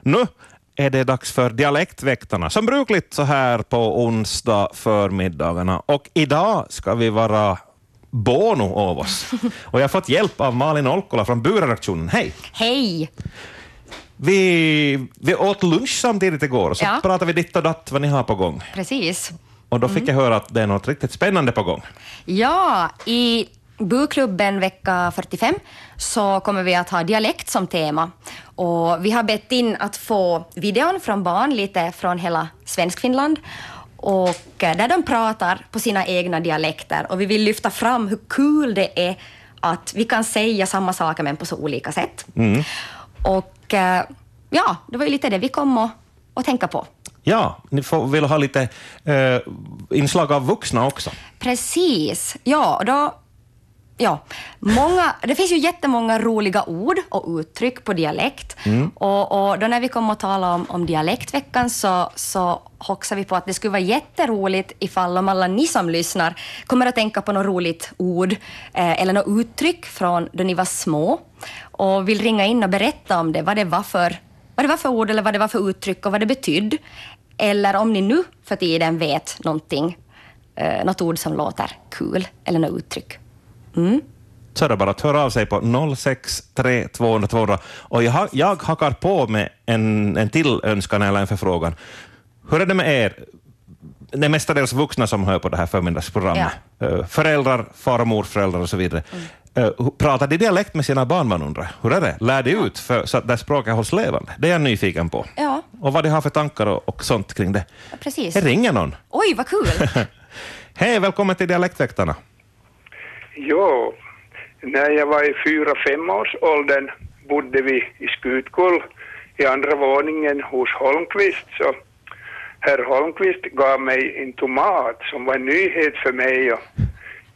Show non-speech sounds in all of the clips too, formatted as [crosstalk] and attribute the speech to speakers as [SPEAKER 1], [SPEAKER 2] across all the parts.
[SPEAKER 1] Nu är det dags för Dialektväktarna, som brukligt så här på onsdag förmiddagarna. Och idag ska vi vara Bono av
[SPEAKER 2] [laughs]
[SPEAKER 1] oss. Och jag har fått hjälp av Malin Olkola från Buredaktionen. Hej!
[SPEAKER 2] Hej!
[SPEAKER 1] Vi, vi åt lunch samtidigt igår, så
[SPEAKER 2] Ja.
[SPEAKER 1] pratade vi ditt och datt vad ni har på gång.
[SPEAKER 2] Precis.
[SPEAKER 1] Och då fick
[SPEAKER 2] Mm.
[SPEAKER 1] jag höra att det är något riktigt spännande på gång.
[SPEAKER 2] Ja, i Buklubben vecka 45 så kommer vi att ha dialekt som tema. Och vi har bett in att få videon från barn lite från hela Svenskfinland och eh, där de pratar på sina egna dialekter och vi vill lyfta fram hur kul det är att vi kan säga samma saker men på så olika sätt.
[SPEAKER 1] Mm.
[SPEAKER 2] Och eh, ja, det var ju lite det vi kom att, att tänka på.
[SPEAKER 1] Ja, ni får, vill ha lite eh, inslag av vuxna också.
[SPEAKER 2] Precis. Ja, och då... Ja, många, det finns ju jättemånga roliga ord och uttryck på dialekt. Och, och då när vi kom att tala om, om dialektveckan så, så hoxade vi på att det skulle vara jätteroligt ifall om alla ni som lyssnar kommer att tänka på något roligt ord eh, eller något uttryck från då ni var små och vill ringa in och berätta om det, vad det var för, vad det var för ord eller vad det var för uttryck och vad det betydde. Eller om ni nu för tiden vet någonting eh, något ord som låter kul eller något uttryck. Mm.
[SPEAKER 1] Så är det bara att höra av sig på 063 200 200. Och jag, har- jag hakar på med en, en till önskan eller en förfrågan. Hur är det med er? Det är mestadels vuxna som hör på det här förmiddagsprogrammet. Eh, Föräldrar, far och morföräldrar och så vidare. Eh, hu- Pratar de dialekt med sina barn, man undrar? Hur är det? Lär de ut för, så att det här språket hålls levande? Det är jag nyfiken på.
[SPEAKER 2] Ja.
[SPEAKER 1] Och vad de har för tankar och, och sånt kring det.
[SPEAKER 2] Ja, Precis.
[SPEAKER 1] Här ringer någon.
[SPEAKER 2] Oj, vad kul!
[SPEAKER 1] Hej, välkommen till Dialektväktarna.
[SPEAKER 3] Jo, när jag var i fyra, femårsåldern bodde vi i Skutkull i andra våningen hos Holmqvist. Så herr Holmqvist gav mig en tomat som var en nyhet för mig. Och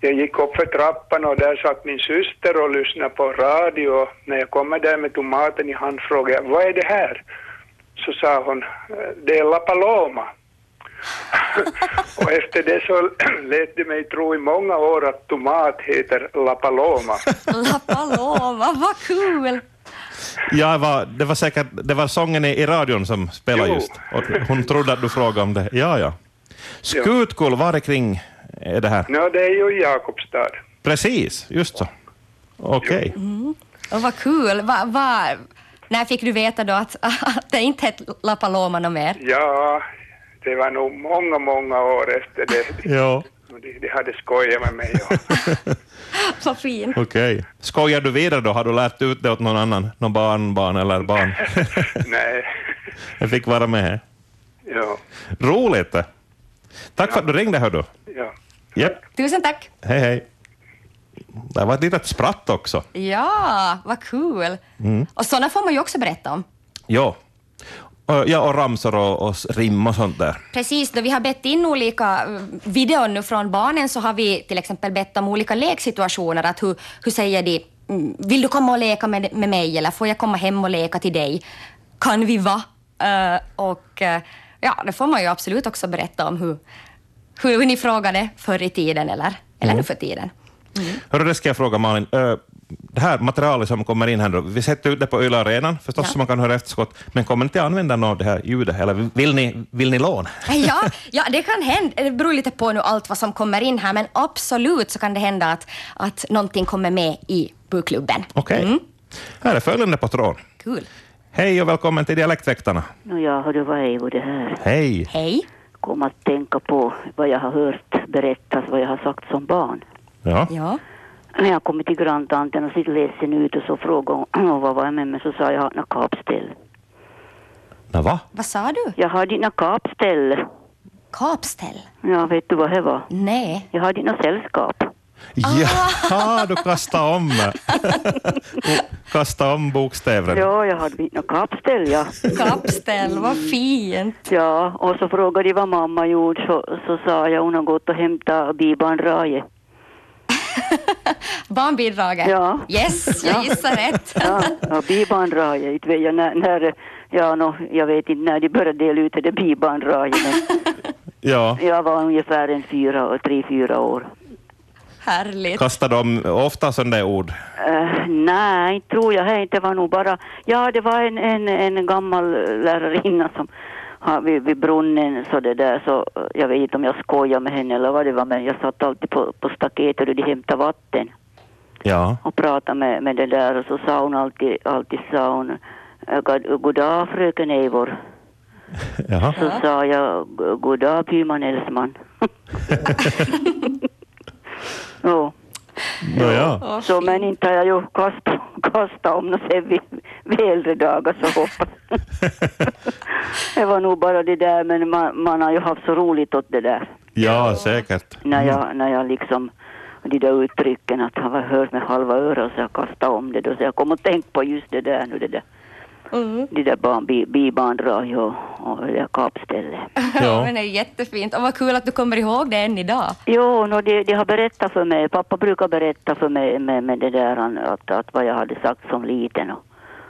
[SPEAKER 3] jag gick upp för trappan och där satt min syster och lyssnade på radio. Och när jag kommer där med tomaten i hand frågade jag, vad är det här? Så sa hon, "Eh, det är La Paloma. Och efter det så [clears throat] lät det mig tro i många år att tomat heter La Paloma.
[SPEAKER 2] La Paloma, vad kul!
[SPEAKER 1] Jag var, det, var säkert, det var sången i, i radion som spelade
[SPEAKER 3] Jo.
[SPEAKER 1] just. Och hon trodde att du frågade om det. Ja, ja. Skutkull, var det kring är det här?
[SPEAKER 3] Nå, det är ju i Jakobstad.
[SPEAKER 1] Precis, just så. Okej.
[SPEAKER 2] Mm. Och vad kul! Va, va, när fick du veta då att, att det inte hette La Paloma något mer?
[SPEAKER 3] Ja, det var nog många, många år efter det.
[SPEAKER 1] Ja.
[SPEAKER 3] De, de hade skojat
[SPEAKER 1] [laughs]
[SPEAKER 3] med mig. Och,
[SPEAKER 2] Vad fint!
[SPEAKER 1] Okej. Skojar du vidare då? Har du lärt ut det åt någon annan? Någon barnbarn eller barn? [laughs]
[SPEAKER 3] nej,
[SPEAKER 1] Jag fick vara med.
[SPEAKER 3] ja,
[SPEAKER 1] Roligt! Tack för att du ringde, hördu.
[SPEAKER 3] ja.
[SPEAKER 1] Japp.
[SPEAKER 2] Tusen tack!
[SPEAKER 1] Hej, hej. Det var ett litet spratt också. Mm.
[SPEAKER 2] Ja, vad kul! Och sådana får man ju också berätta om.
[SPEAKER 1] Ja. Och- Ja, och ramsor och, och rim och sånt där.
[SPEAKER 2] Precis, då vi har bett in olika eh, videor nu från barnen så har vi till exempel bett om olika leksituationer. Att hur, hur säger de, mm, vill du komma och leka med, med mig eller får jag komma hem och leka till dig? Kan vi va? Eh, och eh, ja, det får man ju absolut också berätta om hur, hur, hur ni frågade förr i tiden eller, eller nu för tiden.
[SPEAKER 1] Hörru, det ska jag fråga Malin. Ö, Det här materialet som kommer in här, då, vi sätter ut det på Yle Arenan förstås,
[SPEAKER 2] Ja.
[SPEAKER 1] så man kan höra efterskott, men kommer inte använda något av det här ljudet, eller vill ni, vill ni låna?
[SPEAKER 2] Eh, Ja, ja, det kan hända. Det beror lite på nu allt vad som kommer in här, men absolut så kan det hända att, att någonting kommer med i bokklubben.
[SPEAKER 1] Okej. Här är följande på tråd.
[SPEAKER 2] Kul.
[SPEAKER 1] Hej och välkommen till Dialektväktarna.
[SPEAKER 4] Nå ja, hördu vad är ju det här?
[SPEAKER 1] Hej.
[SPEAKER 2] Hej.
[SPEAKER 4] Kom att tänka på vad jag har hört berättas, vad jag har sagt som barn.
[SPEAKER 1] Ja.
[SPEAKER 2] Ja.
[SPEAKER 4] När jag kom till granntanten och sitter ledsen ut och så frågade hon "Åh, vad var jag med mig så sa jag na kapställ.
[SPEAKER 1] Nå, va?
[SPEAKER 2] Vad sa du?
[SPEAKER 4] Jag har dina kapställ.
[SPEAKER 2] Kapställ?
[SPEAKER 4] Ja, vet du vad det var?
[SPEAKER 2] Nej.
[SPEAKER 4] Jag har dina sällskap.
[SPEAKER 1] Jaha, [laughs] du kastade om. kasta om bokstäverna.
[SPEAKER 4] Ja, jag har dina kapställ, ja.
[SPEAKER 2] Kapställ, vad fint.
[SPEAKER 4] Ja, och så frågade de vad mamma gjorde så, så sa jag hon har gått och hämtat biban Raje.
[SPEAKER 2] Barnbidraget?
[SPEAKER 4] [laughs] Ja.
[SPEAKER 2] Yes, jag gissar rätt.
[SPEAKER 4] Ja, ja biban Raje, inte vet jag när, när ja, nå, jag vet inte när de började dela ut det där biban Raje. Men...
[SPEAKER 1] Ja.
[SPEAKER 4] Jag var ungefär en fyra, tre, fyra år.
[SPEAKER 2] Härligt.
[SPEAKER 1] Kastar de ofta sådana där ord?
[SPEAKER 4] Eh, nej, inte tror jag hej, det var nog bara, ja det var en, en, en gammal lärarinna som har vid, vid brunnen så det där så, eh, jag vet inte om jag skojade med henne eller vad det var men jag satt alltid på, på staketet och de hämtade vatten
[SPEAKER 1] Ja.
[SPEAKER 4] och pratade med, med det där och så sa hon alltid, alltid sa hon, eh, god- god dag fröken Eivor.
[SPEAKER 1] Jaha.
[SPEAKER 4] Så sa jag, "Go- god dag Pyman Elsman. ja.
[SPEAKER 1] Nå, ja.
[SPEAKER 2] Åh,
[SPEAKER 4] Så
[SPEAKER 2] fint.
[SPEAKER 4] men inte har jag ju kastat, kastat om något sen vid, vid äldre dagar så hoppas Det var nog bara det där men man, man har ju haft så roligt åt det där.
[SPEAKER 1] ja, säkert.
[SPEAKER 4] När jag, när jag liksom de där uttrycken att han var hört med halva örat så jag kastade om det då så jag kom och tänkte på just det där nu det där.
[SPEAKER 2] Mm.
[SPEAKER 4] De där barn, bi, bibandrag och, och det där kapstället.
[SPEAKER 1] Ja.
[SPEAKER 2] [laughs] Ja. Men det är jättefint. Och vad kul att du kommer ihåg det än idag.
[SPEAKER 4] Jo, no, de, de har berättat för mig. Pappa brukar berätta för mig med, med det där han- att, att vad jag hade sagt som liten. Och,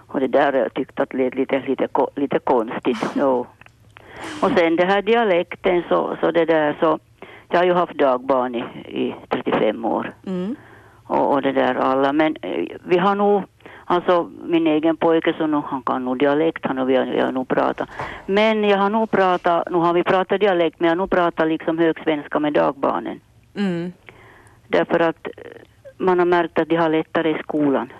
[SPEAKER 4] och det där jag tyckte att lät lite, lite, ko- lite konstigt. Jo. Och sen det här dialekten så, så det där så. Jag har ju haft dagbarn i, i 35 år
[SPEAKER 2] Mm.
[SPEAKER 4] och, och det där alla. Men eh, vi har nog, alltså min egen pojke så nu, han kan nog dialekt, han och vi har, vi har nog pratat. Men jag har nog pratat, nu har vi pratat dialekt, men jag har nog pratat liksom högsvenska med dagbarnen.
[SPEAKER 2] Mm.
[SPEAKER 4] Därför att eh, man har märkt att de har lättare i skolan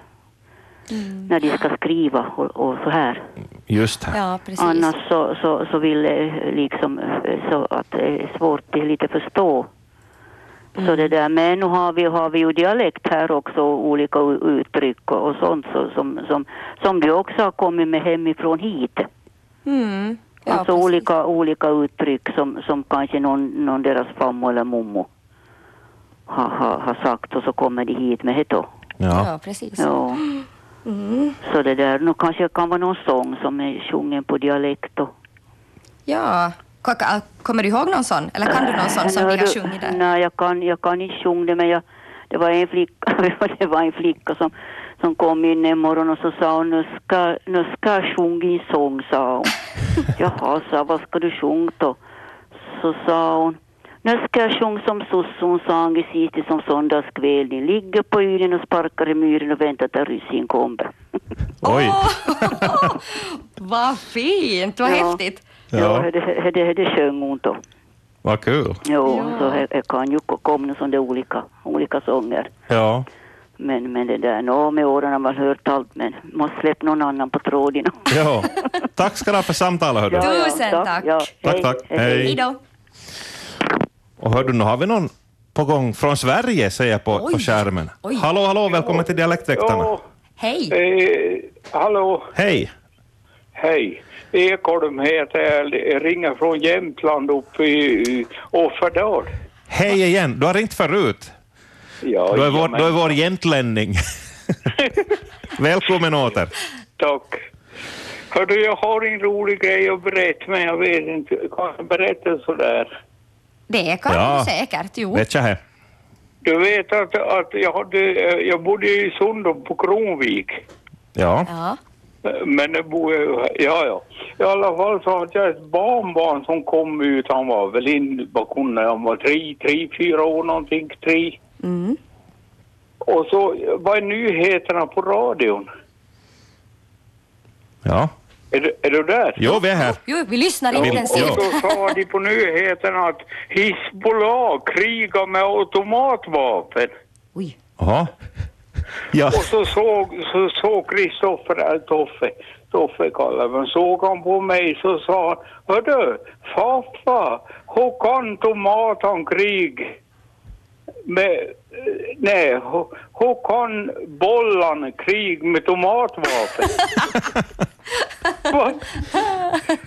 [SPEAKER 2] Mm.
[SPEAKER 4] när de ska skriva och, och så här.
[SPEAKER 1] Just det.
[SPEAKER 2] Ja, precis.
[SPEAKER 4] Annars så, så, så vill det liksom eh, så att det är svårt att lite förstå.
[SPEAKER 2] Mm.
[SPEAKER 4] Så det där, men nu har vi, har vi ju dialekt här också, olika u- uttryck och och sånt så, som, som, som de också har kommit med hemifrån hit.
[SPEAKER 2] Mm. Ja,
[SPEAKER 4] alltså
[SPEAKER 2] precis.
[SPEAKER 4] olika, olika uttryck som, som kanske någon, någon deras farmor eller mommo har, har, har sagt och så kommer de hit med det då.
[SPEAKER 1] Ja.
[SPEAKER 2] Ja, precis.
[SPEAKER 4] Ja.
[SPEAKER 2] Mm.
[SPEAKER 4] Så det där, nu kanske det kan vara någon sång som är sjungen på dialekt och
[SPEAKER 2] Ja. Kaka, Kommer du ihåg någon sån? Eller kan du någon sån som
[SPEAKER 4] Nej,
[SPEAKER 2] vi har
[SPEAKER 4] du-
[SPEAKER 2] sjungit där?
[SPEAKER 4] Nej, jag kan, jag kan inte sjunga det, men jag, det, var en flicka, [laughs] det var en flicka som, som kom in en morgon och så sa hon, nu ska, nu ska jag sjunga en sång,
[SPEAKER 2] [laughs]
[SPEAKER 4] sa hon. Jaha, sa jag, vad ska du sjunga då? Så sa hon, nu ska jag sjunga som sosson sang i Siti som söndagskvällen. Ligger på ylen och sparkar i myren och väntar till ryssin kommer.
[SPEAKER 1] Oj.
[SPEAKER 2] Åh, vad Ah, fint! Vad
[SPEAKER 4] Ja.
[SPEAKER 2] häftigt!
[SPEAKER 1] Ja.
[SPEAKER 4] Ja, det, det, det, det sjöng hon då.
[SPEAKER 1] Vad kul.
[SPEAKER 4] Jo,
[SPEAKER 2] Ja.
[SPEAKER 4] så jag, jag kan ju komma som det är olika, olika sånger.
[SPEAKER 1] Ja.
[SPEAKER 4] Men, men det där, nå med åren har man hört allt, men måste släppa någon annan på tråden.
[SPEAKER 1] ja. Tack ska du ha för samtalet. Hör du.
[SPEAKER 2] Tusen tack.
[SPEAKER 4] Ja,
[SPEAKER 1] Tack,
[SPEAKER 4] hej,
[SPEAKER 1] tack. Hej.
[SPEAKER 2] Hej då!
[SPEAKER 1] Och hör du, nu har vi någon på gång från Sverige, ser jag på,
[SPEAKER 2] Oj.
[SPEAKER 1] på skärmen.
[SPEAKER 2] Oj.
[SPEAKER 1] Hallå, hallå, välkommen till Dialektväktarna.
[SPEAKER 3] Ja,
[SPEAKER 2] Hej!
[SPEAKER 3] eh, hallå,
[SPEAKER 1] Hej.
[SPEAKER 3] hej. Ekholm heter jag. jag, ringer från Jämtland uppe i Offerdal.
[SPEAKER 1] Hej igen. Du har ringt förut.
[SPEAKER 3] Ja,
[SPEAKER 1] Du är vår,
[SPEAKER 3] jajamän.
[SPEAKER 1] du är vår jämtlänning. Välkommen åter.
[SPEAKER 3] Tack. Hördu, jag har en rolig grej att berätta, men jag vet inte. Kan jag berätta sådär?
[SPEAKER 2] Det kan
[SPEAKER 1] Ja.
[SPEAKER 2] du säkert. Jo.
[SPEAKER 1] Vet jag här.
[SPEAKER 3] Du vet att, att jag, hade, eh, jag bodde i Sundom på Kronvik.
[SPEAKER 1] Ja.
[SPEAKER 2] Ja.
[SPEAKER 3] Men det bor jag ju här. Ja, ja. I alla fall så hade jag ett barnbarn som kom ut. Han var väl in, vad kunde han vara, tre, tre, fyra år någonting, tre.
[SPEAKER 2] Mm.
[SPEAKER 3] Och så var nyheterna på radion.
[SPEAKER 1] ja.
[SPEAKER 3] Är, du- är du där?
[SPEAKER 1] Jo, vi är här.
[SPEAKER 2] Jo, vi lyssnar
[SPEAKER 3] Och,
[SPEAKER 2] intensivt.
[SPEAKER 3] och så sa de på nyheterna att Hizbollah krigar med automatvapen.
[SPEAKER 2] Oj.
[SPEAKER 1] Jaha. Ja.
[SPEAKER 3] Och så såg så såg Kristoffer, äh, Toffe, Toffe kallar man, såg han på mig så sa han, hördu, faffa, hur kan tomaten krig med, eh, nej, hur, hur kan bollan krig med tomatvapen? Va?
[SPEAKER 1] [laughs]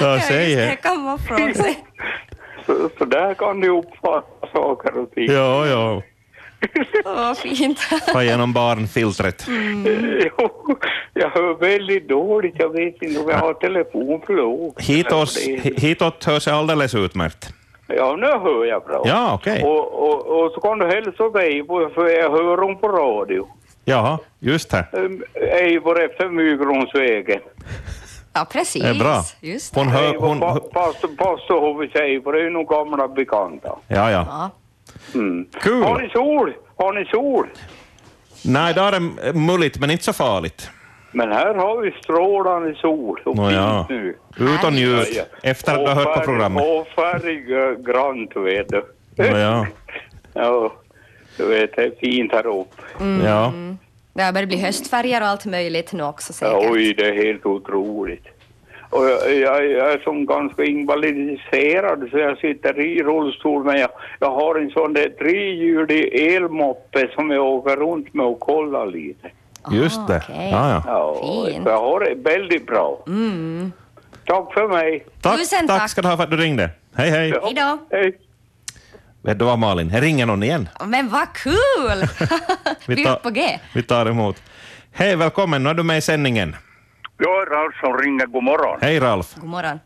[SPEAKER 1] Ja, säg
[SPEAKER 2] det
[SPEAKER 1] det.
[SPEAKER 2] kan vara från
[SPEAKER 4] [laughs]
[SPEAKER 2] sig.
[SPEAKER 3] så, så där kan du uppfatta saker och ting. [laughs]
[SPEAKER 1] Ja, ja.
[SPEAKER 2] Åh, fint. Mm.
[SPEAKER 1] Ta igenom barnfiltret.
[SPEAKER 3] Jo, jag hör väldigt dåligt, jag vet inte om jag har telefon för lågt.
[SPEAKER 1] Hit oss,
[SPEAKER 3] Det-
[SPEAKER 1] hi- hitåt hör sig alldeles utmärkt.
[SPEAKER 3] Ja, nu hör jag bra.
[SPEAKER 1] Ja, okej.
[SPEAKER 3] Och, och, och så kan du hälsa dig, på- för jag hör hon på radio.
[SPEAKER 1] Jaha, just det.
[SPEAKER 3] Ehm, Eivor efter Mygronsvägen.
[SPEAKER 2] Ja, precis.
[SPEAKER 1] Det är bra.
[SPEAKER 2] Just det.
[SPEAKER 1] Hon hör... Hon,
[SPEAKER 3] Eivor, pa- pastor- pastor Hovis Eivor, det är ju nog gamla bekanta.
[SPEAKER 1] ja, ja.
[SPEAKER 2] Ja.
[SPEAKER 3] Mm.
[SPEAKER 1] Kul.
[SPEAKER 3] Har ni sol? Har ni sol?
[SPEAKER 1] Nej, där är mulligt, men inte så farligt.
[SPEAKER 3] Men här har vi strålande sol och
[SPEAKER 1] Nå, ja.
[SPEAKER 3] fint nu.
[SPEAKER 1] Ut och njut
[SPEAKER 3] Ja, ja.
[SPEAKER 1] efter att du har hört på
[SPEAKER 3] Hårfärg-
[SPEAKER 1] programmet.
[SPEAKER 3] Hårfärggrant, vet du.
[SPEAKER 1] Nå, ja.
[SPEAKER 3] [laughs] Ja, du vet, det är fint här uppe.
[SPEAKER 2] Mm.
[SPEAKER 1] ja.
[SPEAKER 2] Det börjar bli höstfärger och allt möjligt nu också
[SPEAKER 3] Ja,
[SPEAKER 2] säkert.
[SPEAKER 3] Oj, det är helt otroligt. Och jag, jag, jag är som ganska invalidiserad så jag sitter i rullstol men jag, jag har en sån där trehjulig elmoppe som jag åker runt med och kollar lite.
[SPEAKER 1] Just det.
[SPEAKER 2] Ah, okej.
[SPEAKER 1] Ja, ja.
[SPEAKER 3] Ja,
[SPEAKER 2] Fint. Mm.
[SPEAKER 3] så jag har det väldigt bra. Tack för mig.
[SPEAKER 1] Tack,
[SPEAKER 2] Tusen
[SPEAKER 1] tack
[SPEAKER 2] tack.
[SPEAKER 1] ska du ha för att du ringde. Hej, hej.
[SPEAKER 3] Ja,
[SPEAKER 2] Hej då.
[SPEAKER 3] Hej.
[SPEAKER 1] Vet du vad, Malin? Här ringer någon igen.
[SPEAKER 2] Men vad kul! Vi är på G.
[SPEAKER 1] [laughs] vi tar emot. Hej, välkommen. Nu är du med i sändningen.
[SPEAKER 5] Jag är Ralf som ringer. God morgon.
[SPEAKER 1] Hej, Ralf.
[SPEAKER 2] God morgon.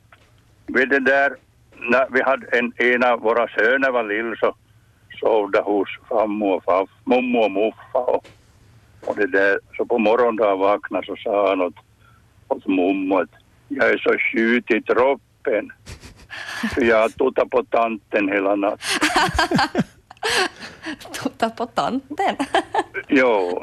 [SPEAKER 5] Vid det där, när vi hade en, en av våra söner var lill så sov det hos farmor och farf, mommo och muffa. Och, och det där, så på morgonen då han vaknade så sa han åt, åt mommo att jag är så skjut i troppen. För jag har tuttat på tanten hela natten.
[SPEAKER 2] Titta på tanten.
[SPEAKER 5] Jo,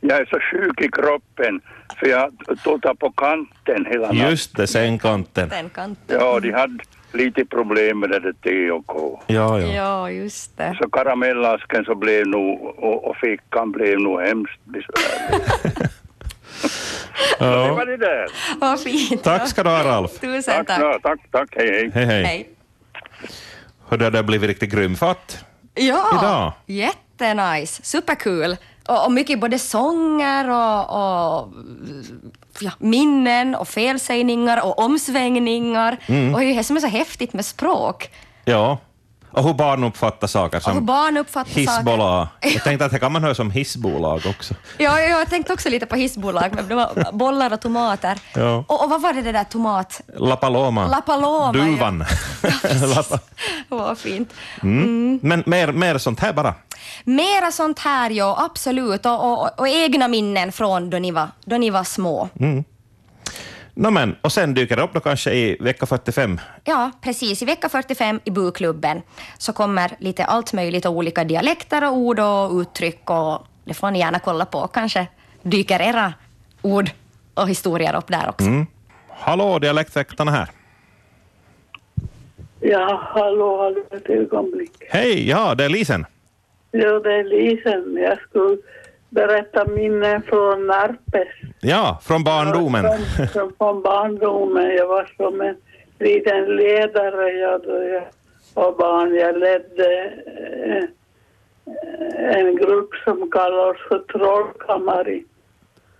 [SPEAKER 5] jag är så sjuk i kroppen för jag har tuttat på kanten hela natten.
[SPEAKER 1] Just det, sängkanten.
[SPEAKER 2] Den kanten.
[SPEAKER 5] Ja, de hade lite problem med det där T och K.
[SPEAKER 1] Ja, ja.
[SPEAKER 2] Ja, just det.
[SPEAKER 5] Så karamellasken så blev nog, och, och fickan blev nog hemskt besvärlig.
[SPEAKER 2] [laughs]
[SPEAKER 5] Det
[SPEAKER 1] ja.
[SPEAKER 5] var det där.
[SPEAKER 2] Vad fint.
[SPEAKER 1] Tack ska du ha, Ralf.
[SPEAKER 2] Tusen
[SPEAKER 5] Tack,
[SPEAKER 2] tack.
[SPEAKER 5] tack, tack, tack hej,
[SPEAKER 1] Hej,
[SPEAKER 5] hej.
[SPEAKER 1] hej.
[SPEAKER 2] Hej.
[SPEAKER 1] Hur det har blivit riktigt grym fatt.
[SPEAKER 2] Ja,
[SPEAKER 1] Idag.
[SPEAKER 2] jättenice. Superkul. Och, och mycket både sånger och, och ja, minnen och felsägningar och omsvängningar.
[SPEAKER 1] Mm.
[SPEAKER 2] Och det är ju det som är så häftigt med språk.
[SPEAKER 1] Ja. Och hur barn uppfattar saker
[SPEAKER 2] Och hur
[SPEAKER 1] som
[SPEAKER 2] barn uppfattar saker. [laughs]
[SPEAKER 1] hissbolag. Jag tänkte att det kan man höra som hissbolag också.
[SPEAKER 2] Ja, ja, jag tänkte också lite på hissbolag, men det var bollar och tomater.
[SPEAKER 1] Ja.
[SPEAKER 2] Och, och vad var det det där tomat...
[SPEAKER 1] La Paloma.
[SPEAKER 2] La Paloma, [laughs] ja.
[SPEAKER 1] Duvan. La Pa-
[SPEAKER 2] Vad fint.
[SPEAKER 1] Mm. Men mer, mer sånt här bara.
[SPEAKER 2] Mera sånt här, ja, absolut. Och, och, och egna minnen från då ni var, då ni var små.
[SPEAKER 1] Nå Mm. men, och sen dyker det upp då kanske i vecka 45.
[SPEAKER 2] Ja, precis. I vecka 45 i Buklubben så kommer lite allt möjligt och olika dialekter och ord och uttryck och det får ni gärna kolla på. Kanske dyker era ord och historier upp där också.
[SPEAKER 1] Mm. Hallå, dialektväktarna här.
[SPEAKER 6] Ja, hallå, hallå, ett ögonblick.
[SPEAKER 1] Hej, ja, det är Lisen.
[SPEAKER 6] Jo, det är Lisen. Jag skulle berätta minnen
[SPEAKER 1] [laughs]
[SPEAKER 6] från Närpes.
[SPEAKER 1] Ja, från barndomen.
[SPEAKER 6] Från- Från, från barndomen. Jag var som en liten ledare jag, då jag var barn. Jag ledde eh, en grupp som kallades för Trollkammari.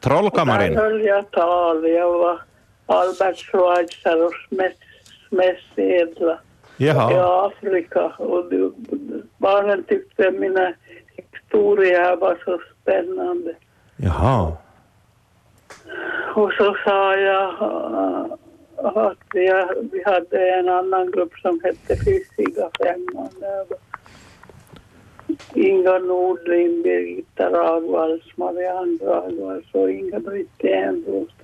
[SPEAKER 6] Där
[SPEAKER 1] Trollkammaren.
[SPEAKER 6] höll jag tal. Jag var Albert Schweitzer och Smets Edla. i
[SPEAKER 1] Jaha.
[SPEAKER 6] Afrika och du, barnen tyckte mina historier var så spännande.
[SPEAKER 1] Jaha.
[SPEAKER 6] Och så sa jag äh, att vi, vi hade en annan grupp som hette Fysiga femman. Där var Inga Nordlin, Birgitta Ragvalls, Marianne Ragvalls och Inga-Britt Enroth.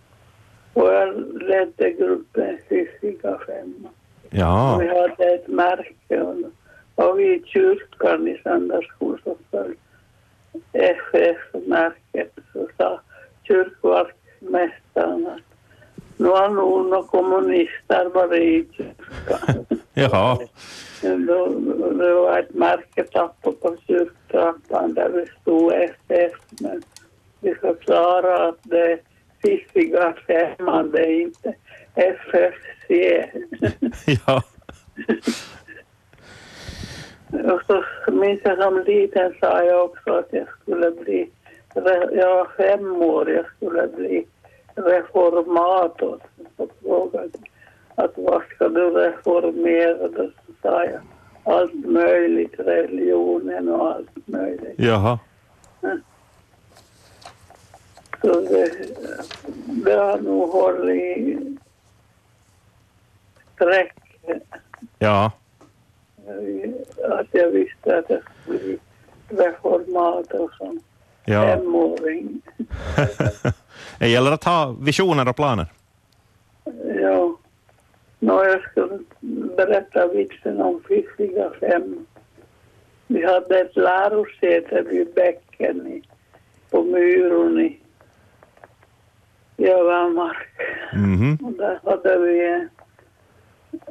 [SPEAKER 6] Och jag ledde gruppen Fysiga femman.
[SPEAKER 1] Ja.
[SPEAKER 6] Vi hade ett märke och, och vi i kyrkan i söndagsskolan så föll FF-märket så sa kyrkvaktmästaren att nu har nog några kommunister varit i kyrkan.
[SPEAKER 1] Jaha.
[SPEAKER 6] Då- Det var ett märke tappat på kyrktrappan där det stod FF men vi förklarade att det fiffiga femman det är inte FFC.
[SPEAKER 1] [laughs] Ja.
[SPEAKER 6] Och så minns jag som liten sa jag också att jag skulle bli, jag var fem år, jag skulle bli reformator. Så frågade jag att vad ska du reformera? Då sa jag allt möjligt, religionen och allt möjligt.
[SPEAKER 1] Jaha.
[SPEAKER 6] Så det, det har nog hållit streck
[SPEAKER 1] Ja.
[SPEAKER 6] att jag visste att jag skulle bli reformator som
[SPEAKER 1] Ja. [laughs]
[SPEAKER 6] femåring.
[SPEAKER 1] Det gäller att ha visioner och planer.
[SPEAKER 6] Ja. Nå, jag ska berätta vitsen om fiffiga fem. Vi hade ett lärosäte vid bäcken i, på Myron i Javamark.
[SPEAKER 1] Mhm.
[SPEAKER 6] Och där hade vi eh,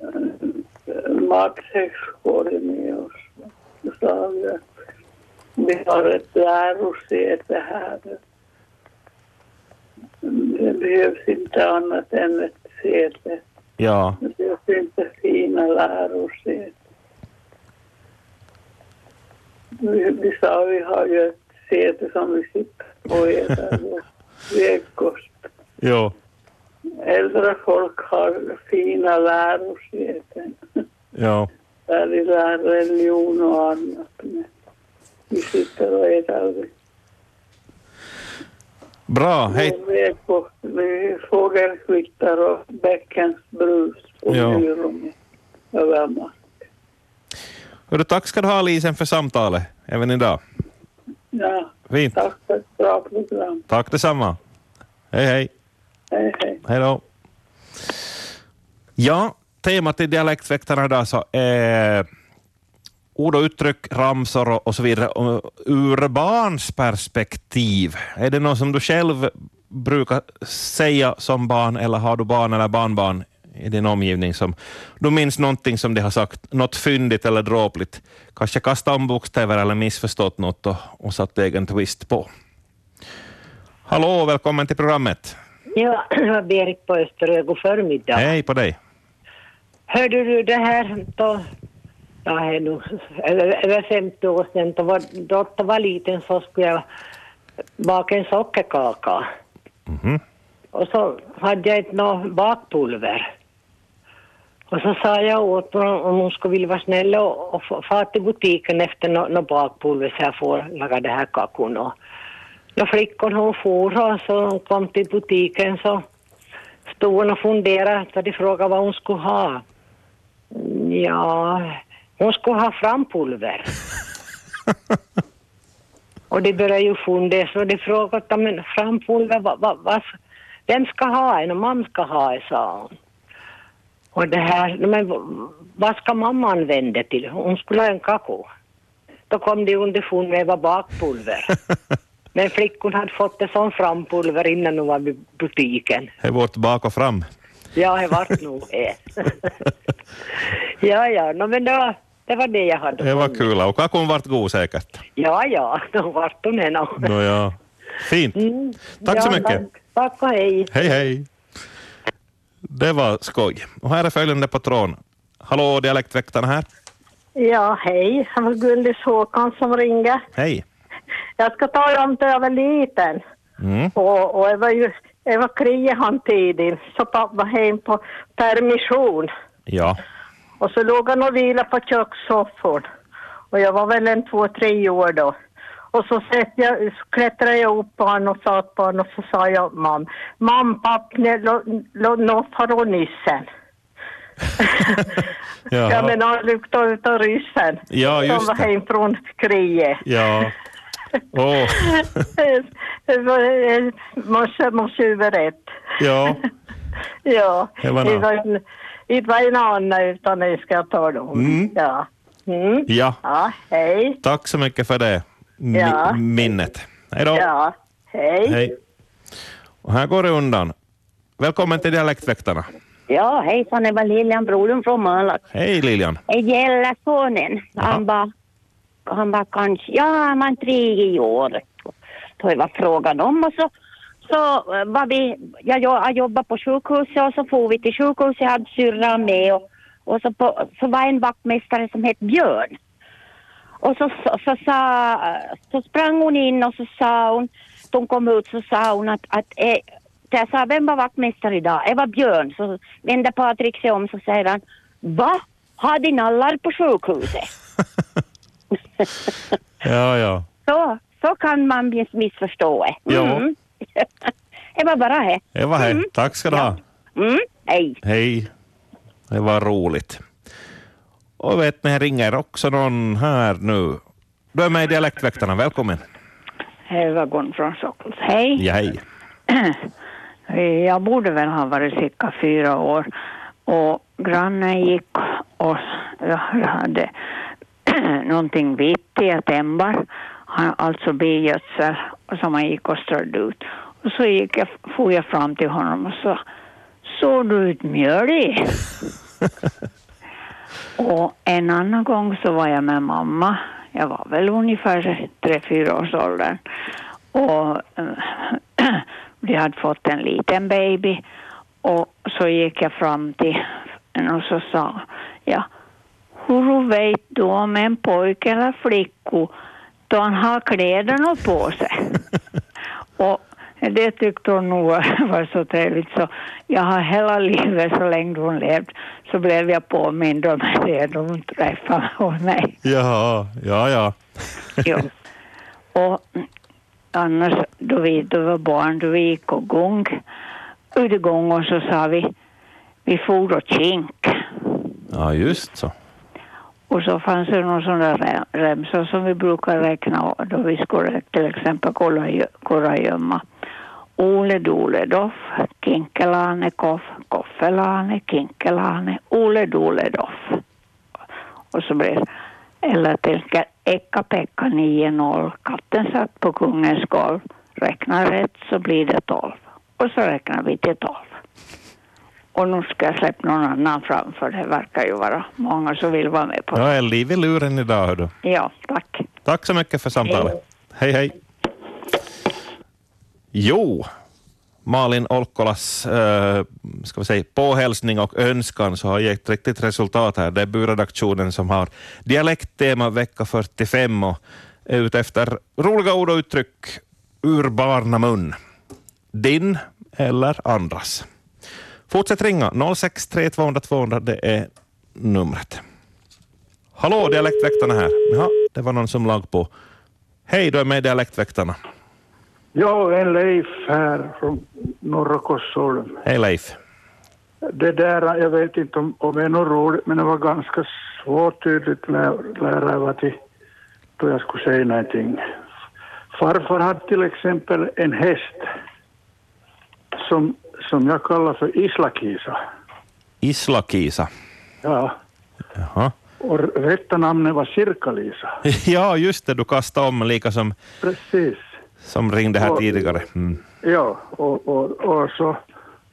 [SPEAKER 6] en, en, en matsäckskål med oss. Då sa vi att vi har ett lärosäte här. Det behövs inte annat än ett säte.
[SPEAKER 1] Ja.
[SPEAKER 6] Det behövs inte fina lärosäten. Vi, vi sa vi har ju ett säte som vi sitter på hela vår vägkost.
[SPEAKER 1] Jo.
[SPEAKER 6] Äldre folk har fina lärosäten.
[SPEAKER 1] Ja.
[SPEAKER 6] Där de lär religion och annat. Men vi sitter och äter.
[SPEAKER 1] Bra. Hej.
[SPEAKER 6] Vår vägkost, vi fågelkvitter och bäckens brus på
[SPEAKER 1] Ja.
[SPEAKER 6] Myrum och Värmland.
[SPEAKER 1] Hörru, tack ska du ha, Lisen, för samtalet även idag.
[SPEAKER 6] Ja,
[SPEAKER 1] Fint.
[SPEAKER 6] tack för ett bra program.
[SPEAKER 1] Tack detsamma. Hej, hej.
[SPEAKER 6] Hej, hej.
[SPEAKER 1] Hej då. Ja, temat i Dialektväktarna idag så är ord och uttryck, ramsor och, och så vidare och ur barns perspektiv. Är det något som du själv brukar säga som barn eller har du barn eller barnbarn i din omgivning som du minns någonting som de har sagt, något fyndigt eller dråpligt, kanske kastat om bokstäver eller missförstått något och, och satt egen twist på. Hallå, välkommen till programmet.
[SPEAKER 7] Ja, [clears throat] det var Berit på Österö. God förmiddag.
[SPEAKER 1] Hej på dig.
[SPEAKER 7] Hörde du det här då? Ja, det är nog över, över 50 år sedan. Då var, då jag var liten så skulle jag baka en sockerkaka.
[SPEAKER 1] Mhm.
[SPEAKER 7] Och så hade jag inte något bakpulver. Och så sa jag åt honom om hon skulle vilja vara snäll och, och få- fara till butiken efter något nå bakpulver så jag får laga det här kakorna. Och, och flickan hon for och så hon kom till butiken så stod hon och funderade så de frågade vad hon skulle ha. Mm, Ja, hon skulle ha frampulver. och de började ju fundera så de frågade "Ja, men frampulver, vad, vad, vad, vem ska ha en och mamma ska ha en, sa hon. Och det här, "Nej, men v- vad ska mamma använda det till? Hon skulle ha en kakao. Då kom de underfund med vad
[SPEAKER 1] [laughs]
[SPEAKER 7] bakpulver. Men flickorna hade fått det som frampulver innan hon var i butiken.
[SPEAKER 1] Hej vårt bak och fram.
[SPEAKER 7] Ja, det vart nog
[SPEAKER 1] [laughs]
[SPEAKER 7] det. ja, ja, no, men då, det var det jag hade.
[SPEAKER 1] Det var kul. Och kakon vart god säkert.
[SPEAKER 7] Ja, ja, då vart hon en av.
[SPEAKER 1] Nåja. Fint.
[SPEAKER 7] Mm.
[SPEAKER 1] Tack så
[SPEAKER 7] ja,
[SPEAKER 1] mycket.
[SPEAKER 7] Tack, tack och hej.
[SPEAKER 1] Hej, hej. Det var skoj. Och här är följande på tråden. Hallå, dialektväktarna här.
[SPEAKER 8] Ja, hej. Det var Gullis Håkan som ringde.
[SPEAKER 1] Hej.
[SPEAKER 8] Jag ska tala om det jag var liten.
[SPEAKER 1] Mm.
[SPEAKER 8] Och, och jag var ju jag var kriehantidin, så pappa var hem på permission.
[SPEAKER 1] Ja.
[SPEAKER 8] Och så låg han och vilade på kökssoffan. Och jag var väl en två, tre år då. Och så, sätt jag, så klättrade jag upp på honom och satt på honom och så sa jag mamma, mamma, pappa, nå far nissen. Jag
[SPEAKER 1] Jaha.
[SPEAKER 8] menar, han luktade utav ryssen.
[SPEAKER 1] Ja, just
[SPEAKER 8] som var
[SPEAKER 1] det.
[SPEAKER 8] hem från kriget.
[SPEAKER 1] Ja. Åh.
[SPEAKER 8] Det var morse, morse över ett.
[SPEAKER 1] Ja.
[SPEAKER 8] Ja,
[SPEAKER 1] Det var nå.
[SPEAKER 8] det var en- det var en annan utan det ska jag tala om.
[SPEAKER 1] Mm.
[SPEAKER 8] Ja. Mm.
[SPEAKER 1] Ja.
[SPEAKER 8] ja, hej.
[SPEAKER 1] Tack så mycket för det mi-
[SPEAKER 8] Ja.
[SPEAKER 1] minnet. Hej då.
[SPEAKER 8] Ja, hej.
[SPEAKER 1] Hej. Och här går det undan. Välkommen till dialektväktarna.
[SPEAKER 9] Ja, hejsan, det var Lilian, brodern från Malak.
[SPEAKER 1] Hej Lilian.
[SPEAKER 9] Det gäller sonen.
[SPEAKER 1] Jaha.
[SPEAKER 9] Han var, han var kanske, ja, han var tre i år. Då det var frågan om och så, så eh, var vi, jag, jo- jag jobbade på sjukhuset och så for vi till sjukhuset, jag hade syrran med och, och så, på, så var en vaktmästare som hette Björn. Och så, så, så, sa, så sprang hon in och så sa hon, då hon kom ut så sa hon att, att eh, jag sa vem var vaktmästare idag? Det var Björn. Så vände Patrik sig om så säger han, va? Har de nallar på sjukhuset?
[SPEAKER 1] Ja, ja.
[SPEAKER 9] Så, så kan man miss- missförstå det. Mm. [laughs] det var bara det.
[SPEAKER 1] Det var hej. Tack ska du ha.
[SPEAKER 9] Mm. Hej.
[SPEAKER 1] Hej. Det var roligt. Och vet ni, här ringer också någon här nu. Du är med i Dialektväktarna, välkommen.
[SPEAKER 10] Hej, var Gun från Sockels. Hej.
[SPEAKER 1] Ja, hej.
[SPEAKER 10] Eh, Jag borde väl ha varit cirka fyra år. Och grannen gick och jag hade [clears throat] någonting vitt september, han- alltså bigödsel som han gick och strödde ut. Och så gick jag, for jag fram till honom och sa, såg du ut mjölig? och en annan gång så var jag med mamma, jag var väl ungefär tre fyra års åldern. Och eh, [clears throat] vi hade fått en liten baby och så gick jag fram till henne och så sa jag, hur vet du om en pojke eller flicka då han har kläderna på sig? och det tyckte hon nog var [laughs] var så trevligt så jag har hela livet så länge hon levde så blev jag påmind om det då hon träffade hos mig.
[SPEAKER 1] Jaha, ja, ja.
[SPEAKER 10] Jo. Och mm, annars, då vi då var barn, då vi gick och gång, ut i gång och så sa vi, vi for och kink.
[SPEAKER 1] Ja, just så.
[SPEAKER 10] Och så fanns det någon sån där re- remsa som vi brukar räkna av då vi skulle till exempel kolla gö- kolla gömma. Ole dole doff, kinkelane koff, koffelane, kinkelane, ole dole doff. Och så blev eller till Ekka Pekka 9-0, katten satt på kungens golv. Räkna rätt så blir det 12. Och så räknar vi till 12. Och nu ska jag släppa någon annan fram för det verkar ju vara många som vill vara med på
[SPEAKER 1] Jag är liv i luren idag, hördu.
[SPEAKER 10] Ja, tack.
[SPEAKER 1] Tack så mycket för samtalet. Hej, hej. Jo, Malin Olkkolas äh, ska vi säga, påhälsning och önskan så har gett riktigt resultat här. Det är byredaktionen som har dialekttema vecka 45 och är ute efter roliga ord och uttryck ur barnamun. Din eller andras. Fortsätt ringa 063 200 200, det är numret. Hallå, Dialektväktarna här. Ja, det var någon som lag på. Hej, du är med i Dialektväktarna.
[SPEAKER 11] Ja, en Leif här från Norra Korsholm.
[SPEAKER 1] Hej Leif.
[SPEAKER 11] Det där, jag vet inte om, om det är något roligt, men det var ganska svårt tydligt lä- lärare vad till då jag skulle säga någonting. Farfar hade till exempel en häst som, som jag kallar för Islakisa.
[SPEAKER 1] Isla-Kisa.
[SPEAKER 11] Ja,
[SPEAKER 1] Jaha.
[SPEAKER 11] och rätta namnet var Sirkalisa.
[SPEAKER 1] [laughs] Ja, just det, du kastade om lika som,
[SPEAKER 11] Precis.
[SPEAKER 1] som ringde här tidigare. Mm.
[SPEAKER 11] Ja, och, och, och så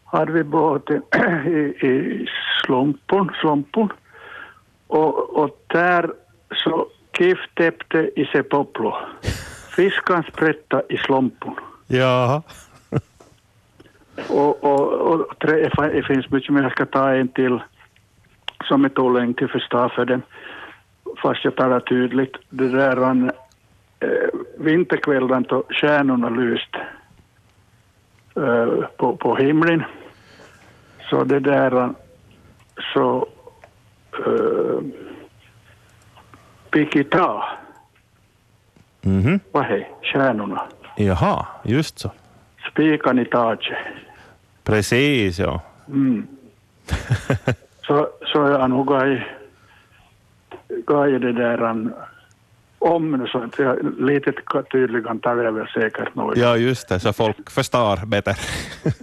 [SPEAKER 11] hade vi båten [clears throat] i, i slumpen, slumpen. Och, och där så Kif täppte i se poplo. Fiskan sprätta i slumpen.
[SPEAKER 1] Jaha.
[SPEAKER 11] Och, och, och tre, det finns mycket mer. Jag ska ta en till som är tålig till förstå för den. Fast jag talar tydligt. Det där han, eh, vinterkvällen då stjärnorna lyst eh, på, på himlen. Så det där han, så eh, Pikita,
[SPEAKER 1] Mhm.
[SPEAKER 11] vad hej, stjärnorna.
[SPEAKER 1] Jaha, just så.
[SPEAKER 11] Spikan i taket.
[SPEAKER 1] Precis, ja.
[SPEAKER 11] Mm. så, så jag nog gav, gav det där en, om så att jag lite tydligen tar jag väl säkert något.
[SPEAKER 1] Ja, just det, så folk förstår bättre.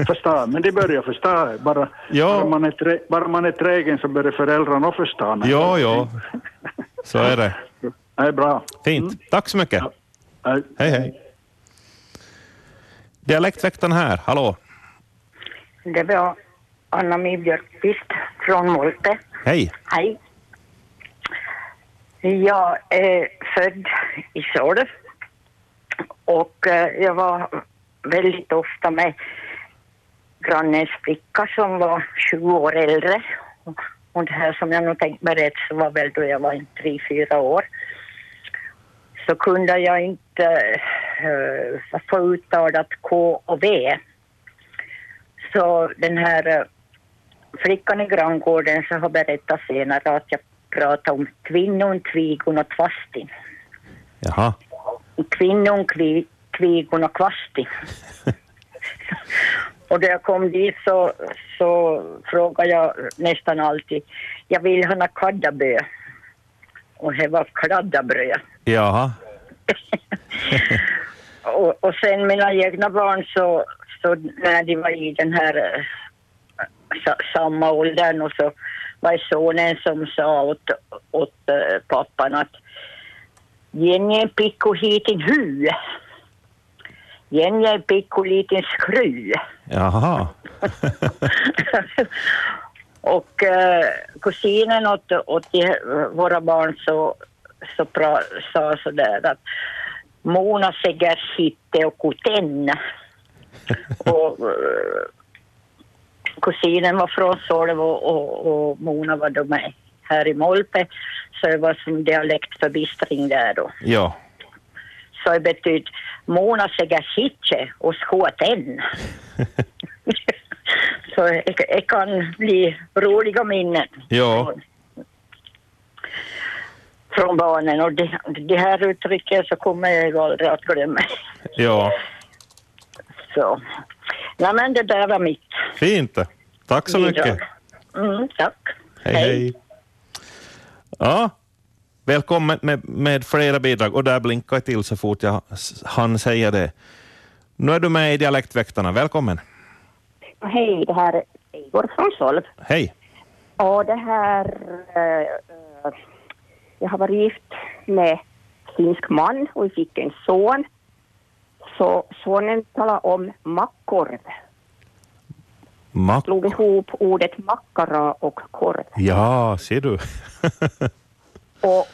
[SPEAKER 11] Förstå, men det börjar förstå. Bara, bara, man är trä, bara man är trägen så börjar föräldrarna också förstå.
[SPEAKER 1] Ja, ja. Så är det.
[SPEAKER 11] Det är bra. Mm.
[SPEAKER 1] Fint. Tack så mycket. Hej, hej. Dialektväktaren här, hallå.
[SPEAKER 12] Det var Anna-Mi Björkqvist från Molpe.
[SPEAKER 1] Hej.
[SPEAKER 12] Hej. Jag är född i Solv och eh, jag var väldigt ofta med grannens flicka som var 20 år äldre. Och det här som jag nu tänkt berätta så var väl då jag var en tre, fyra år. Så kunde jag inte eh, få uttalat K och V. Så den här eh, flickan i granngården så har berättat senare att jag pratade om kvinnon, tvigon och kvastin.
[SPEAKER 1] Jaha.
[SPEAKER 12] Kvinnon, kvi, tvigon och kvastin. och när jag kom dit så, så frågade jag nästan alltid, jag vill ha några kaddabö. Och det var kladdabröd.
[SPEAKER 1] Jaha.
[SPEAKER 12] Och, och sen mina egna barn så, så när de var i den här eh, sa, samma åldern och så var det sonen som sa åt, åt eh, pappan att Jenny pikku hitin hy. Jenny pikku liten skruv.
[SPEAKER 1] Jaha.
[SPEAKER 12] Och eh, kusinen åt, åt de, eh, våra barn så, så pra, sa sådär att Mona säger hitte och kuten. och eh, kusinen var från Solv och, och, och Mona var då med här i Molpe. Så det var som dialektförbistring där då.
[SPEAKER 1] Ja.
[SPEAKER 12] Så det betyder Mona säger hitche och skåten. så det det kan bli roliga minnen
[SPEAKER 1] Ja.
[SPEAKER 12] från barnen och det, det här uttrycket så kommer jag aldrig att glömma.
[SPEAKER 1] Ja.
[SPEAKER 12] Så. Ja, men det där var mitt.
[SPEAKER 1] Fint. Tack så
[SPEAKER 12] bidrag.
[SPEAKER 1] mycket.
[SPEAKER 12] Mm, tack.
[SPEAKER 1] Hej, hej. Ja, välkommen med, med flera bidrag. Och där blinkar jag till så fort jag han säger det. Nu är du med i Dialektväktarna. Välkommen.
[SPEAKER 13] Och Hej, det här är Igor från Solv.
[SPEAKER 1] Hej.
[SPEAKER 13] Och det här... eh, eh, jag har varit gift med finsk man och vi fick en son. Så sonen talade om mackorv.
[SPEAKER 1] Mack.
[SPEAKER 13] Slog ihop ordet makkara och korv.
[SPEAKER 1] Ja, ser du. [laughs]
[SPEAKER 13] Och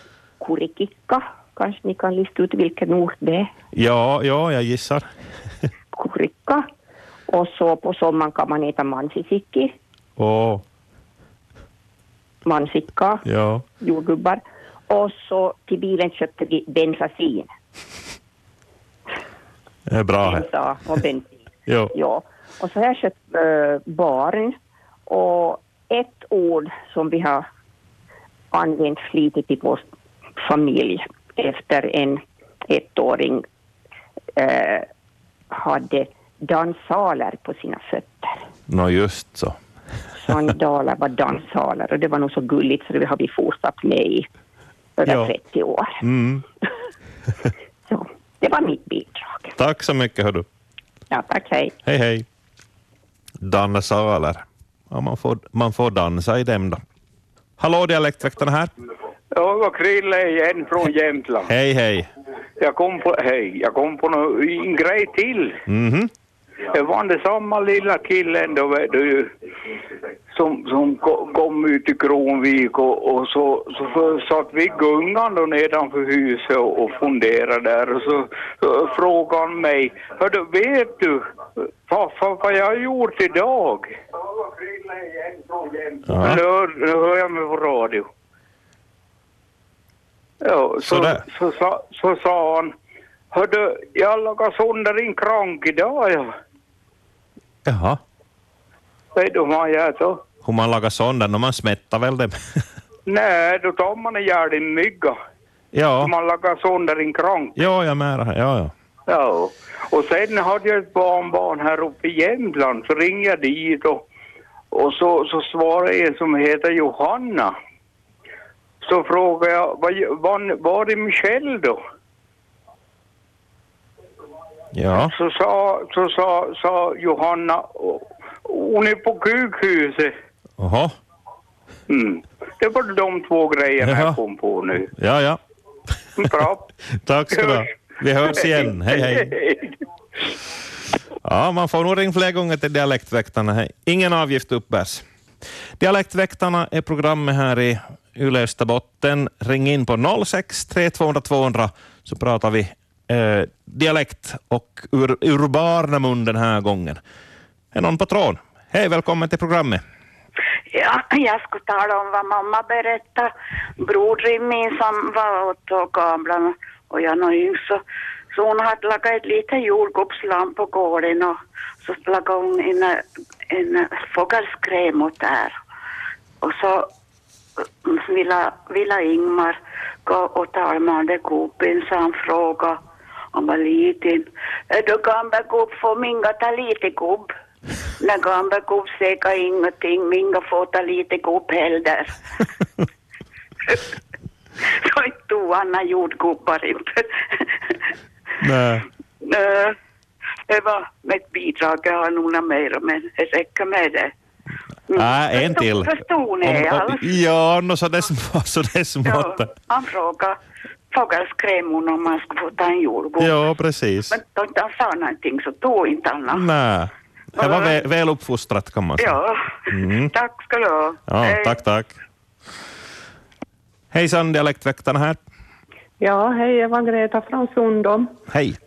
[SPEAKER 13] kurikikka, kanske ni kan lista ut vilken ort det är.
[SPEAKER 1] Ja, ja, jag gissar.
[SPEAKER 13] Kurikka. Och så på sommaren kan man äta mansisikki,
[SPEAKER 1] Åh,
[SPEAKER 13] mansikka,
[SPEAKER 1] ja.
[SPEAKER 13] jordgubbar. Och så till bilen köpte vi bensasin.
[SPEAKER 1] Det är bra här.
[SPEAKER 13] bensa och bensin.
[SPEAKER 1] Jo.
[SPEAKER 13] Ja. Och så har jag köpt eh, barn och ett ord som vi har använt flitigt i vår familj efter en ettåring eh, hade dansaler på sina fötter.
[SPEAKER 1] Nå, just så.
[SPEAKER 13] Sandaler var dansaler och det var nog så gulligt så det har vi fortsatt med i över
[SPEAKER 1] Ja.
[SPEAKER 13] 30 år.
[SPEAKER 1] Mm.
[SPEAKER 13] Det var mitt bidrag.
[SPEAKER 1] Tack så mycket, hördu.
[SPEAKER 13] Ja, tack, hej.
[SPEAKER 1] Hej, hej. Dansaler. Ja, man, får, man får dansa i dem då. Hallå, Dialektväktarna här.
[SPEAKER 3] Ja, det var Krille igen från Jämtland.
[SPEAKER 1] Hej, hej.
[SPEAKER 3] Jag kom på, hej, jag kom på nå- en grej till.
[SPEAKER 1] Mhm.
[SPEAKER 3] Det var den samma lilla killen då, vet du, som, som ko- kom ut i Kronvik och, och så, så för- satt vi i gungan då nedanför huset och, och funderade där och så, så frågade han mig, hördu, vet du farfar vad jag har gjort idag?
[SPEAKER 1] Ja.
[SPEAKER 3] Nu, hör- nu hör jag mig på radio. Ja, så,
[SPEAKER 1] Sådär.
[SPEAKER 3] så, sa- så sa han, hördu, jag lagade sönder din krank idag. Ja.
[SPEAKER 1] Jaha.
[SPEAKER 3] Vet du vad man gör då?
[SPEAKER 1] Hur man lagar sönder, när man smättar väl dem. [laughs]
[SPEAKER 3] Nej, då tar man ihjäl en mygga.
[SPEAKER 1] Ja.
[SPEAKER 3] Man lagar sönder en krank.
[SPEAKER 1] Ja, jag menar här. Ja, ja.
[SPEAKER 3] Ja. Och sen hade jag ett barnbarn här uppe i Jämtland, så ringde jag dit och, och så, så svarade en som heter Johanna. Så frågade jag, var, var, var är Michelle då?
[SPEAKER 1] Ja.
[SPEAKER 3] Så sa, så sa, sa Johanna, hon är på sjukhuset.
[SPEAKER 1] Jaha.
[SPEAKER 3] Mm. Det var de två grejerna
[SPEAKER 1] Jaha.
[SPEAKER 3] jag kom på nu.
[SPEAKER 1] Ja, ja.
[SPEAKER 3] Bra.
[SPEAKER 1] [laughs] Tack ska du ha. Vi hörs igen. Hej, hej.
[SPEAKER 3] [laughs]
[SPEAKER 1] Ja, man får nog ringa fler gånger till Dialektväktarna. Hej. Ingen avgift uppbärs. Dialektväktarna är programmet här i Yle Österbotten. Ring in på 06 300 200 så pratar vi eh, dialekt och ur, urbarnamund den här gången. Är någon på tråden? Hej, välkommen till programmet.
[SPEAKER 14] Ja, jag skulle tala om vad mamma berättade. Brodern min som var åtta år gammal och jag var yngst så, så hon hade lagat ett litet jordgubbsland på gården och så lagade hon en, en fågelskräm åt där. Och så mm, ville, ville Ingmar gå och tala med den där gubben så han frågade han var liten. Är du gammal gubb får minga ta lite gubb? När gamla gubb säger ingenting, minga får ta lite gubb heller. Så inte tog Anna jordgubbar inte.
[SPEAKER 1] Nej.
[SPEAKER 14] Eh, Det var mitt bidrag, jag har några mer men det räcker med det.
[SPEAKER 1] Nej, en till.
[SPEAKER 14] Förstod ni
[SPEAKER 1] Om- om- [laughs]
[SPEAKER 14] alls?
[SPEAKER 1] Ja, nå så det är sm- så det är smått.
[SPEAKER 14] Han frågade fågelskräm hon om man skulle få ta en jordgubb.
[SPEAKER 1] Ja, precis.
[SPEAKER 14] Men då inte han sa någonting så tog inte han något.
[SPEAKER 1] Nej, det var väl, väl uppfostrat kan man säga.
[SPEAKER 14] Ja,
[SPEAKER 1] Mm.
[SPEAKER 14] tack ska du ha.
[SPEAKER 1] Ja,
[SPEAKER 14] Hej.
[SPEAKER 1] tack, tack. Hejsan, Dialektväktarna här.
[SPEAKER 15] Ja, hej, jag var Greta från Sundom.
[SPEAKER 1] Hej.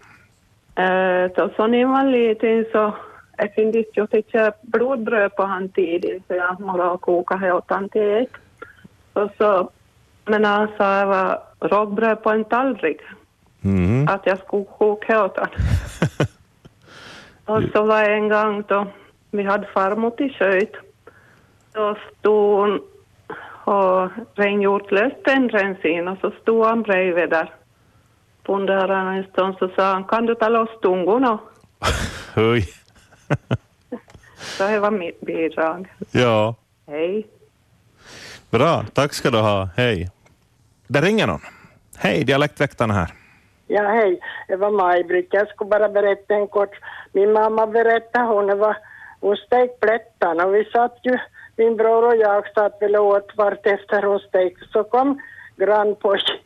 [SPEAKER 15] Eh, så, så när jag var liten så jag kunde jag fick köpa blodbröd på han tidigt så jag morgon och kokade åt han till ett. Och så, men han sa jag var rågbröd på en tallrik,
[SPEAKER 1] Mm.
[SPEAKER 15] att jag skulle koka åt han. och så var en gång då vi hade farmor till sköt. Då stod hon och rengjort löst en rensin och så stod han bredvid där. Funderade han en stund så sa han, kan du ta loss tungorna?
[SPEAKER 1] Hej.
[SPEAKER 15] Så det var mitt bidrag.
[SPEAKER 1] Ja,
[SPEAKER 15] Hej.
[SPEAKER 1] bra. Tack ska du ha. Hej. Där ringer någon. Hej, Dialektväktarna här.
[SPEAKER 16] Ja, hej. Det var Maj-Britt. Jag skulle bara berätta en kort. Min mamma berättade, hon var hon stekte plättarna och vi satt ju, min bror och jag satt väl och åt vartefter hon stekte. Så kom grannpojken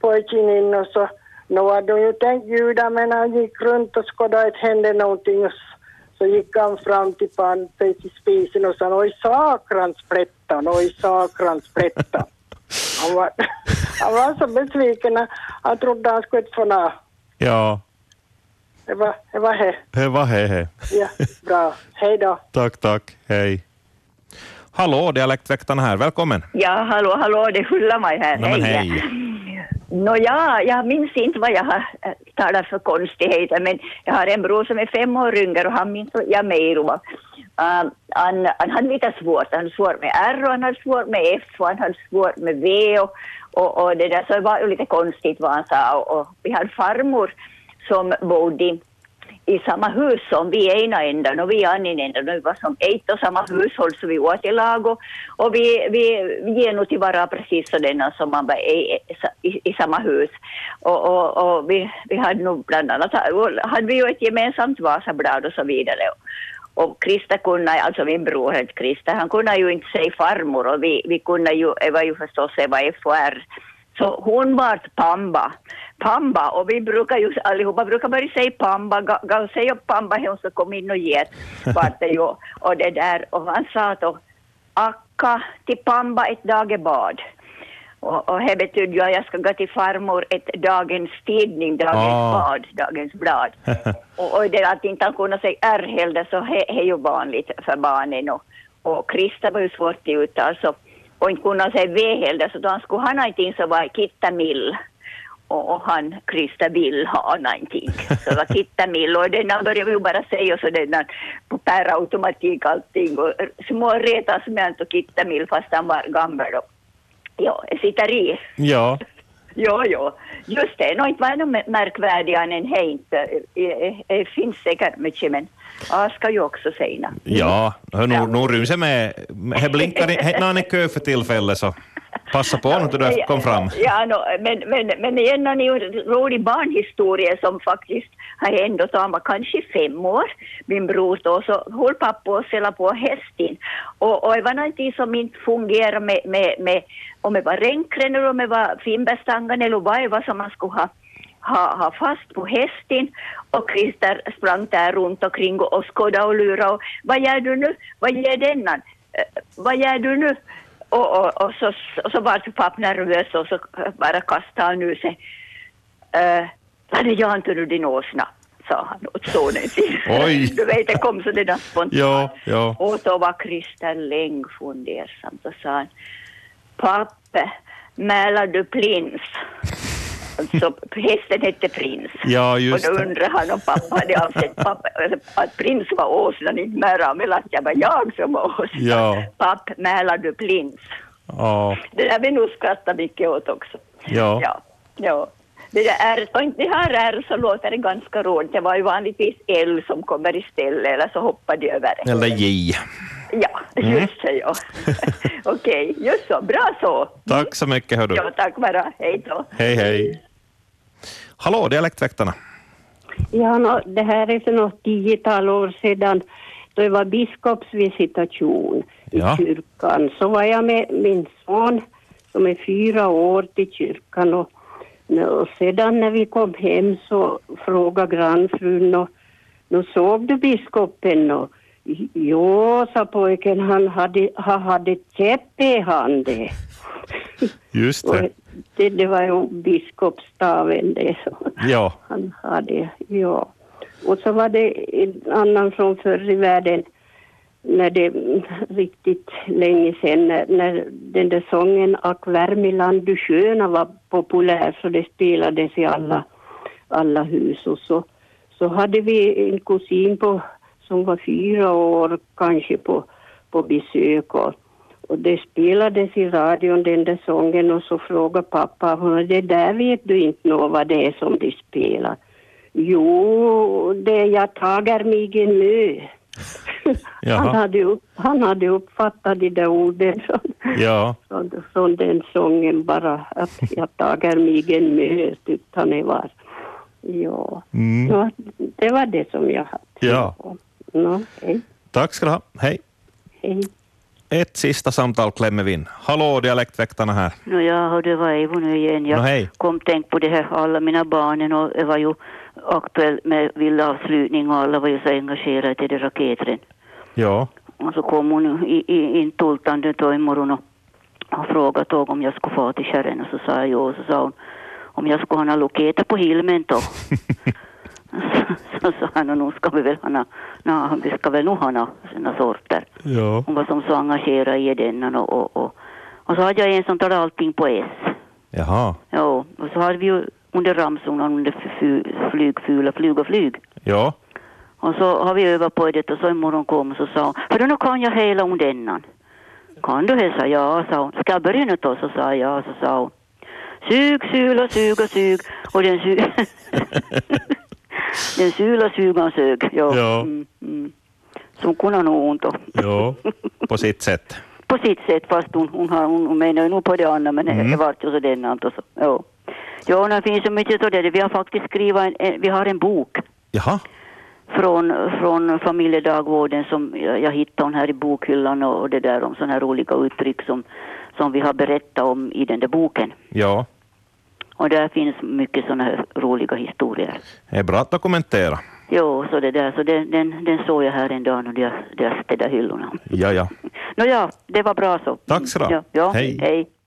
[SPEAKER 16] pojken in och så, nu hade hon ju tänkt bjuda men han gick runt och skådade att det hände någonting och s- så gick han fram till pannan, till spisen och sa oj sakransplättan, oj sakransplättan. Han var, [laughs] han var så besviken. Han trodde han skulle inte få nå.
[SPEAKER 1] Ja,
[SPEAKER 16] Det var det. Var he.
[SPEAKER 1] hej, va, hej, hej.
[SPEAKER 16] Ja, bra. Hej då.
[SPEAKER 1] Tack, tack. Hej. Hallå, Dialektväktarna här. Välkommen.
[SPEAKER 17] Ja, hallå, hallå, det är Ulla-Maj här.
[SPEAKER 1] Nej, men hej.
[SPEAKER 17] Nå, ja, jag minns inte vad jag har eh, talat för konstigheter, men jag har en bror som är fem år yngre och han minns jag mer. om. Um, han, han hade lite svårt. Han hade svårt med R och han hade svårt med F och han hade svårt med V och, och, och det där. Så det var ju lite konstigt vad han sa. Och, och vi hade farmor som bodde i- i samma hus som vi ena änden och vi andra änden. Och Vi var som ett och samma hushåll så vi åt i lag och, och vi, vi, vi ger nog till varandra precis sådana som man var i, i, i samma hus. Och, och, och vi, vi hade nog bland annat hade vi ju ett gemensamt Vasablad och så vidare. Och Krista kunde, alltså min bror hette Krista, han kunde ju inte säga farmor och vi, vi kunde ju, det var ju förstås Eva FR. Så hon var Pamba. Pamba, och vi brukar ju allihopa brukar bara säga Pamba, Ga- ga- säg upp Pamba, hon ska komma in och ge ett, vart det ju, och det där, och han sa då Akka till Pamba ett dagebad. Och, och det betyder ju att jag ska gå till farmor ett dagens tidning, dagens
[SPEAKER 18] Ah.
[SPEAKER 17] bad, dagens blad. Och, och det att inte han kunde säga R heller, så he- he är ju vanligt för barnen. Och, och Krista var ju svårt i uttal, så, och inte kunde han säga V heller, så då han skulle ha någonting så var det Kitta Mill. Och, och han, Krista, vill ha någonting. Så det var Kitta Mill. Och den han började vi ju bara säga så den han på per automatik allting. Och småretas med han och Kitta Mill fast han var gammal. Och, ja, jag sitter i.
[SPEAKER 1] Ja,
[SPEAKER 17] Jo, jo, just det. Nå, inte var det något märkvärdigare än hej inte. Det E- finns säkert mycket, men jag ska ju också säga något.
[SPEAKER 1] ja. Hör, Nu, nu ryms jag med. Här blinkar ni. Här är kö för tillfället, så passa på nu till du kom fram.
[SPEAKER 17] Ja, no, men, men, men igen har ni ju en rolig barnhistoria som faktiskt har hänt och han var kanske fem år, min bror då, så höll pappa och ställa på hästen. Och, och det var någonting som inte fungerade med, med, med om det var ränkränor, om det var finbärstangen eller vad det var som man skulle ha ha, ha fast på hästen och Christer sprang där runt omkring och, och skådade och lurade. Och, vad gör du nu? Vad gör denna? Eh, vad gör du nu? Och, och, och så, och så var pappa nervös och så eh, bara kastade han ur sig. Eh, vad det gör inte nu din åsna? sa han
[SPEAKER 1] [laughs]
[SPEAKER 17] åt sonen sin.
[SPEAKER 1] Oj.
[SPEAKER 17] Du vet, det kom så det där spontant.
[SPEAKER 1] Ja, ja.
[SPEAKER 17] Och så var Christer länge fundersam. Så sa han, pappa, mälar du prins? Så hästen hette prins.
[SPEAKER 1] Ja, just
[SPEAKER 17] och då
[SPEAKER 1] det.
[SPEAKER 17] undrade han om pappa hade avsett pappa, att prins var åsnan, inte Märra, men att jag var jag som var åsnan.
[SPEAKER 1] Ja,
[SPEAKER 17] Papp, mälar du prins?
[SPEAKER 1] ja,
[SPEAKER 17] Det där vi nog skrattar mycket åt också.
[SPEAKER 1] ja.
[SPEAKER 17] Ja. Det där är, och inte det här är så låter det ganska rådigt. Det var ju vanligtvis L som kommer istället eller så hoppar de över det.
[SPEAKER 1] Eller J.
[SPEAKER 17] Ja,
[SPEAKER 1] Mm.
[SPEAKER 17] just det ja. [laughs] Okej, just så. Bra så.
[SPEAKER 1] Tack så mycket, hör du.
[SPEAKER 17] Ja, tack bara. Hej då.
[SPEAKER 1] Hej, hej. Hallå, Dialektväktarna.
[SPEAKER 18] Ja, nå, det här är för något tiotal år sedan då det var biskopsvisitation i
[SPEAKER 1] Ja.
[SPEAKER 18] kyrkan. Så var jag med min son som är fyra år till kyrkan och, Nå, Och sedan när vi kom hem så frågade grannfrun och nu såg du biskopen och Jo, sa pojken, han hade, han hade käpp i handen. [laughs]
[SPEAKER 1] Just det.
[SPEAKER 18] Det, det var ju biskopsstaven det som
[SPEAKER 1] Ja.
[SPEAKER 18] han hade, ja. Och så var det en annan från förr i världen, när det riktigt länge sedan, när, när den där sången Ack Värmeland du sköna var populär, så det spelades i alla, alla hus. Och så, så hade vi en kusin på, som var fyra år kanske på, på besök. Och, och det spelades i radion den där sången och så frågade pappa honom, det där vet du inte nå vad det är som de spelar. Jo, det är jag tager mig en mö. [laughs] Han
[SPEAKER 1] Jaha.
[SPEAKER 18] hade, upp, han hade uppfattat de där orden från,
[SPEAKER 1] Ja.
[SPEAKER 18] från, från den sången bara, att jag tager mig en mö, tyckte han det var. Ja,
[SPEAKER 1] Mm.
[SPEAKER 18] ja det var det som jag hade.
[SPEAKER 1] ja.
[SPEAKER 18] Nå, hej,
[SPEAKER 1] Tack ska du ha. Hej.
[SPEAKER 18] hej.
[SPEAKER 1] Ett sista samtal klämmer vi in. Hallå, dialektväktarna här.
[SPEAKER 4] No, ja, och det var Eivor nu igen. Jag
[SPEAKER 1] Nå, hej.
[SPEAKER 4] kom tänkt på det här, alla mina barnen och jag var ju aktuell med villavslutning och alla var ju så engagerade i det raketen.
[SPEAKER 1] Ja.
[SPEAKER 4] Och så kom hon i- i- intultande då i morgon och, och frågade då om jag skulle få till kärren och så sa jag jo och så sa hon om jag skulle ha några loketer på Hilmen då. så, så sa han och nu ska vi väl ha några- nå, vi ska väl nog ha några sina sorter.
[SPEAKER 1] Ja.
[SPEAKER 4] Hon var som så engagerad i den och, och, och, och så hade jag en som talade allting på S.
[SPEAKER 1] Jaha.
[SPEAKER 4] Ja, och så hade vi ju under ramsorna under f- fu- flyg, fula, flyg och flyg.
[SPEAKER 1] Ja.
[SPEAKER 4] Och så har vi övat på det och så imorgon kom så sa hon, hördu nu kan jag hela om denna. Kan du det? sa jag, sa hon. Ska jag börja nu då? Så sa jag, så sa hon. Sug, sula, sug och sug. Och den sug... [laughs] den sula, sugan, sög. Ja.
[SPEAKER 1] Ja.
[SPEAKER 4] Mm, mm. Som kunde nog ont och
[SPEAKER 1] Ja. På sitt sätt.
[SPEAKER 4] på sitt sätt fast hon, hon, har, hon, hon menar ju nog på det andra men
[SPEAKER 1] Mm.
[SPEAKER 4] det vart ju så den och så. Ja. Ja, det finns så mycket av det. Vi har faktiskt skrivit en, en, vi har en bok
[SPEAKER 1] Jaha.
[SPEAKER 4] från, från familjedagvården som jag, jag hittade hon här i bokhyllan och, och det där om sådana här olika uttryck som, som vi har berättat om i den där boken.
[SPEAKER 1] Ja.
[SPEAKER 4] Och där finns mycket sådana här roliga historier.
[SPEAKER 1] Det är bra att dokumentera.
[SPEAKER 4] Jo, så det där, så den, den, den såg jag här en dag när jag, när jag städade hyllorna.
[SPEAKER 1] Ja, ja.
[SPEAKER 4] Nå ja, det var bra så.
[SPEAKER 1] Tack så du
[SPEAKER 4] Ja,
[SPEAKER 1] ha.
[SPEAKER 4] ja,
[SPEAKER 1] Hej.
[SPEAKER 4] hej.